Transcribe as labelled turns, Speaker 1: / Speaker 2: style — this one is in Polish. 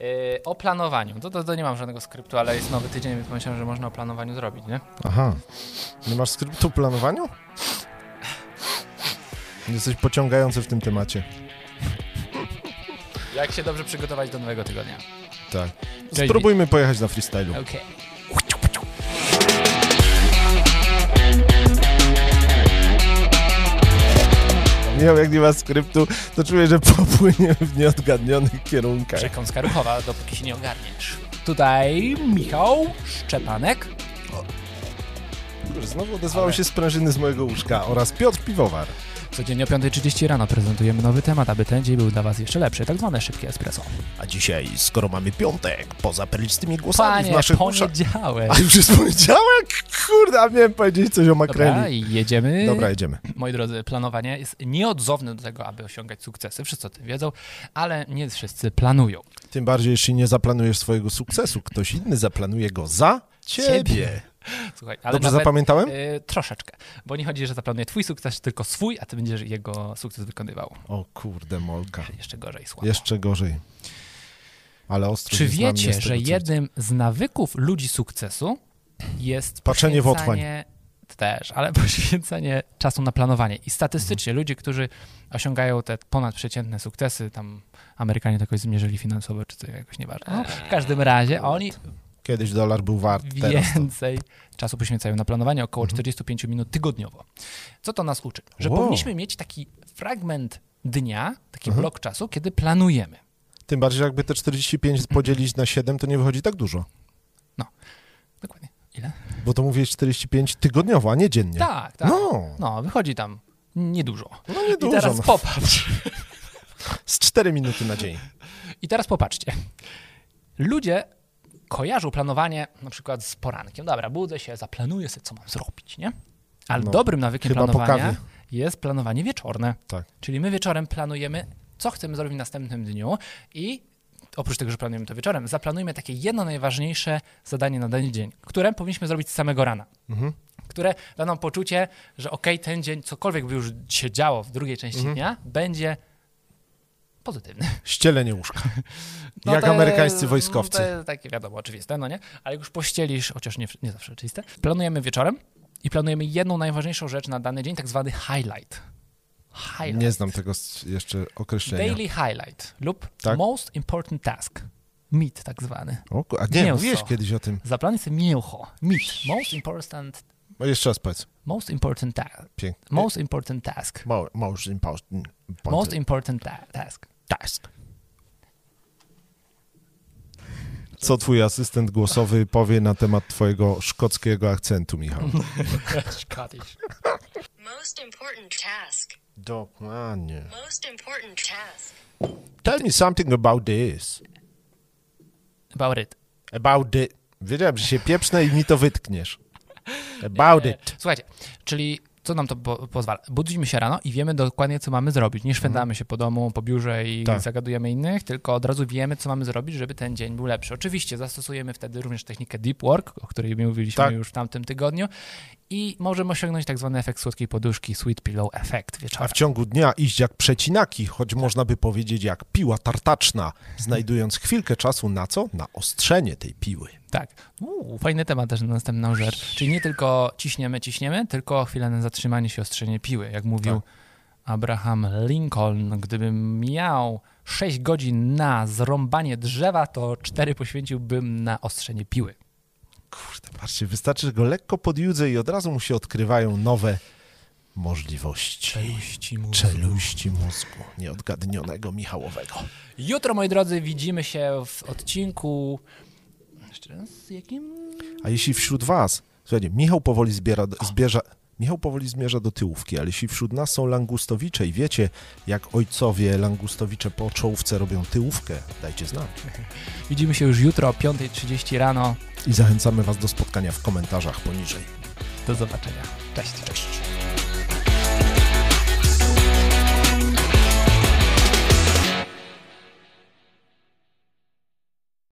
Speaker 1: Yy, o planowaniu. To, to, to nie mam żadnego skryptu, ale jest nowy tydzień, więc pomyślałem, że można o planowaniu zrobić, nie?
Speaker 2: Aha. Nie masz skryptu planowaniu? Jesteś pociągający w tym temacie.
Speaker 1: Jak się dobrze przygotować do nowego tygodnia.
Speaker 2: Tak.
Speaker 1: Cześć,
Speaker 2: Spróbujmy pojechać na freestylu.
Speaker 1: Okej.
Speaker 2: Nie wiem, jak nie ma skryptu, to czuję, że popłyniemy w nieodgadnionych kierunkach.
Speaker 1: Przekąska ruchowa, dopóki się nie ogarniesz. Tutaj Michał Szczepanek.
Speaker 2: Dobrze, Znowu odezwały się sprężyny z mojego łóżka oraz Piotr Piwowar.
Speaker 1: Codziennie o 5.30 rano prezentujemy nowy temat, aby ten dzień był dla Was jeszcze lepszy, tak zwane szybkie espresso.
Speaker 2: A dzisiaj, skoro mamy piątek, poza perlistymi głosami w
Speaker 1: Panie,
Speaker 2: naszych uszach...
Speaker 1: poniedziałek.
Speaker 2: A już jest poniedziałek? Kurde, a miałem powiedzieć coś o
Speaker 1: Dobra,
Speaker 2: makreli.
Speaker 1: i jedziemy.
Speaker 2: Dobra, jedziemy.
Speaker 1: Moi drodzy, planowanie jest nieodzowne do tego, aby osiągać sukcesy. Wszyscy o tym wiedzą, ale nie wszyscy planują.
Speaker 2: Tym bardziej, jeśli nie zaplanujesz swojego sukcesu, ktoś inny zaplanuje go za ciebie.
Speaker 1: Ciebie. Słuchaj, ale
Speaker 2: Dobrze
Speaker 1: nawet,
Speaker 2: zapamiętałem?
Speaker 1: y, troszeczkę, bo nie chodzi, że zaplanuje twój sukces, tylko swój, a ty będziesz jego sukces wykonywał.
Speaker 2: O kurde, Molka.
Speaker 1: Jeszcze gorzej, słabo.
Speaker 2: Jeszcze gorzej. Ale ostro
Speaker 1: Czy
Speaker 2: się znam,
Speaker 1: wiecie,
Speaker 2: jest tego
Speaker 1: że
Speaker 2: coś.
Speaker 1: jednym z nawyków ludzi sukcesu jest
Speaker 2: Patrzenie w otchłań.
Speaker 1: poświęcanie- Też, ale poświęcenie czasu na planowanie. I statystycznie
Speaker 2: Mhm.
Speaker 1: ludzie, którzy osiągają te ponadprzeciętne sukcesy, tam Amerykanie to jakoś zmierzyli finansowo, czy to jakoś nieważne. No, w każdym razie oni
Speaker 2: Kiedyś dolar był wart, teraz to. Mhm.
Speaker 1: więcej czasu poświęcają na planowanie, około 45 minut tygodniowo. Co to nas uczy? Że
Speaker 2: Wow.
Speaker 1: powinniśmy mieć taki fragment dnia, taki
Speaker 2: Mhm.
Speaker 1: blok czasu, kiedy planujemy.
Speaker 2: Tym bardziej, że jakby te 45 podzielić na 7, to nie wychodzi tak dużo.
Speaker 1: Dokładnie. Ile?
Speaker 2: Bo to mówię 45 tygodniowo, a nie dziennie.
Speaker 1: Tak, tak.
Speaker 2: No,
Speaker 1: No, wychodzi tam niedużo.
Speaker 2: no nie
Speaker 1: I
Speaker 2: dużo.
Speaker 1: teraz
Speaker 2: no.
Speaker 1: popatrz.
Speaker 2: Z 4 minuty na dzień.
Speaker 1: I teraz popatrzcie. Ludzie kojarzą planowanie na przykład z porankiem. Dobra, budzę się, zaplanuję sobie, co mam zrobić, nie? Ale
Speaker 2: No,
Speaker 1: dobrym nawykiem
Speaker 2: chyba po
Speaker 1: planowania
Speaker 2: kawie.
Speaker 1: jest planowanie wieczorne.
Speaker 2: Tak.
Speaker 1: Czyli my wieczorem planujemy, co chcemy zrobić w następnym dniu i oprócz tego, że planujemy to wieczorem, zaplanujmy takie jedno najważniejsze zadanie na dany dzień, które powinniśmy zrobić z samego rana.
Speaker 2: Mhm.
Speaker 1: Które da nam poczucie, że okej, ten dzień, cokolwiek by już się działo w drugiej części
Speaker 2: Mhm.
Speaker 1: dnia, będzie pozytywny.
Speaker 2: Ścielenie łóżka.
Speaker 1: No
Speaker 2: Jak
Speaker 1: to
Speaker 2: amerykańscy
Speaker 1: jest-
Speaker 2: wojskowcy.
Speaker 1: To jest takie wiadomo, oczywiste, no nie? Ale jak już pościelisz, chociaż nie, nie zawsze oczywiste, planujemy wieczorem i planujemy jedną najważniejszą rzecz na dany dzień, tak zwany highlight. Highlight.
Speaker 2: Nie znam tego s- jeszcze określenia.
Speaker 1: Daily highlight lub
Speaker 2: Tak.
Speaker 1: most important task. MIT tak zwany.
Speaker 2: O, ku- a nie,
Speaker 1: Mięso.
Speaker 2: mówiłeś kiedyś o tym.
Speaker 1: Zaplanuj sobie mięcho. MIT. Most important,
Speaker 2: No, jeszcze raz powiedz.
Speaker 1: most important, ta-
Speaker 2: Pięknie.
Speaker 1: most important task.
Speaker 2: Mo- most important.
Speaker 1: Most important ta- task.
Speaker 2: task. Co twój asystent głosowy powie na temat twojego szkockiego akcentu, Michał?
Speaker 1: Szkodzisz.
Speaker 3: Most important task.
Speaker 2: Dokładnie.
Speaker 3: Most important task.
Speaker 2: Tell me something about this.
Speaker 1: About it.
Speaker 2: About it. Wiedziałem, że się pieprznę i mi to wytkniesz. About it.
Speaker 1: E, Słuchajcie, czyli co nam to po pozwala? Budzimy się rano i wiemy dokładnie, co mamy zrobić. Nie szwendamy się po domu, po biurze i
Speaker 2: Mhm. Tak.
Speaker 1: zagadujemy innych, tylko od razu wiemy, co mamy zrobić, żeby ten dzień był lepszy. Oczywiście zastosujemy wtedy również technikę deep work, o której mówiliśmy
Speaker 2: Tak.
Speaker 1: już w tamtym tygodniu i możemy osiągnąć tak zwany efekt słodkiej poduszki, sweet pillow effect
Speaker 2: A
Speaker 1: wieczorem.
Speaker 2: w ciągu dnia iść jak przecinaki, choć można by powiedzieć jak piła tartaczna, znajdując chwilkę czasu na co? Na ostrzenie tej piły.
Speaker 1: Tak. Uuu, fajny temat też na następną rzecz. Czyli nie tylko ciśniemy, ciśniemy, tylko chwilę na zatrzymanie się ostrzenie piły, jak mówił Abraham Lincoln. Gdybym miał 6 godzin na zrąbanie drzewa, to 4 poświęciłbym na ostrzenie piły.
Speaker 2: Kurde, patrzcie, wystarczy, że go lekko podjudzę i od razu mu się odkrywają nowe możliwości.
Speaker 1: Czeluści mu.
Speaker 2: Czeluści mózgu nieodgadnionego Michałowego.
Speaker 1: Jutro, moi drodzy, widzimy się w odcinku... Jeszcze raz? Jakim?
Speaker 2: A jeśli wśród was, słuchajcie, Michał powoli zbiera, zbierza, Michał powoli zmierza do tyłówki, ale jeśli wśród nas są langustowicze i wiecie, jak ojcowie langustowicze po czołówce robią tyłówkę, dajcie znać.
Speaker 1: Widzimy się już jutro o 5.30 rano.
Speaker 2: I zachęcamy was do spotkania w komentarzach poniżej.
Speaker 1: Do zobaczenia. Cześć. Cześć.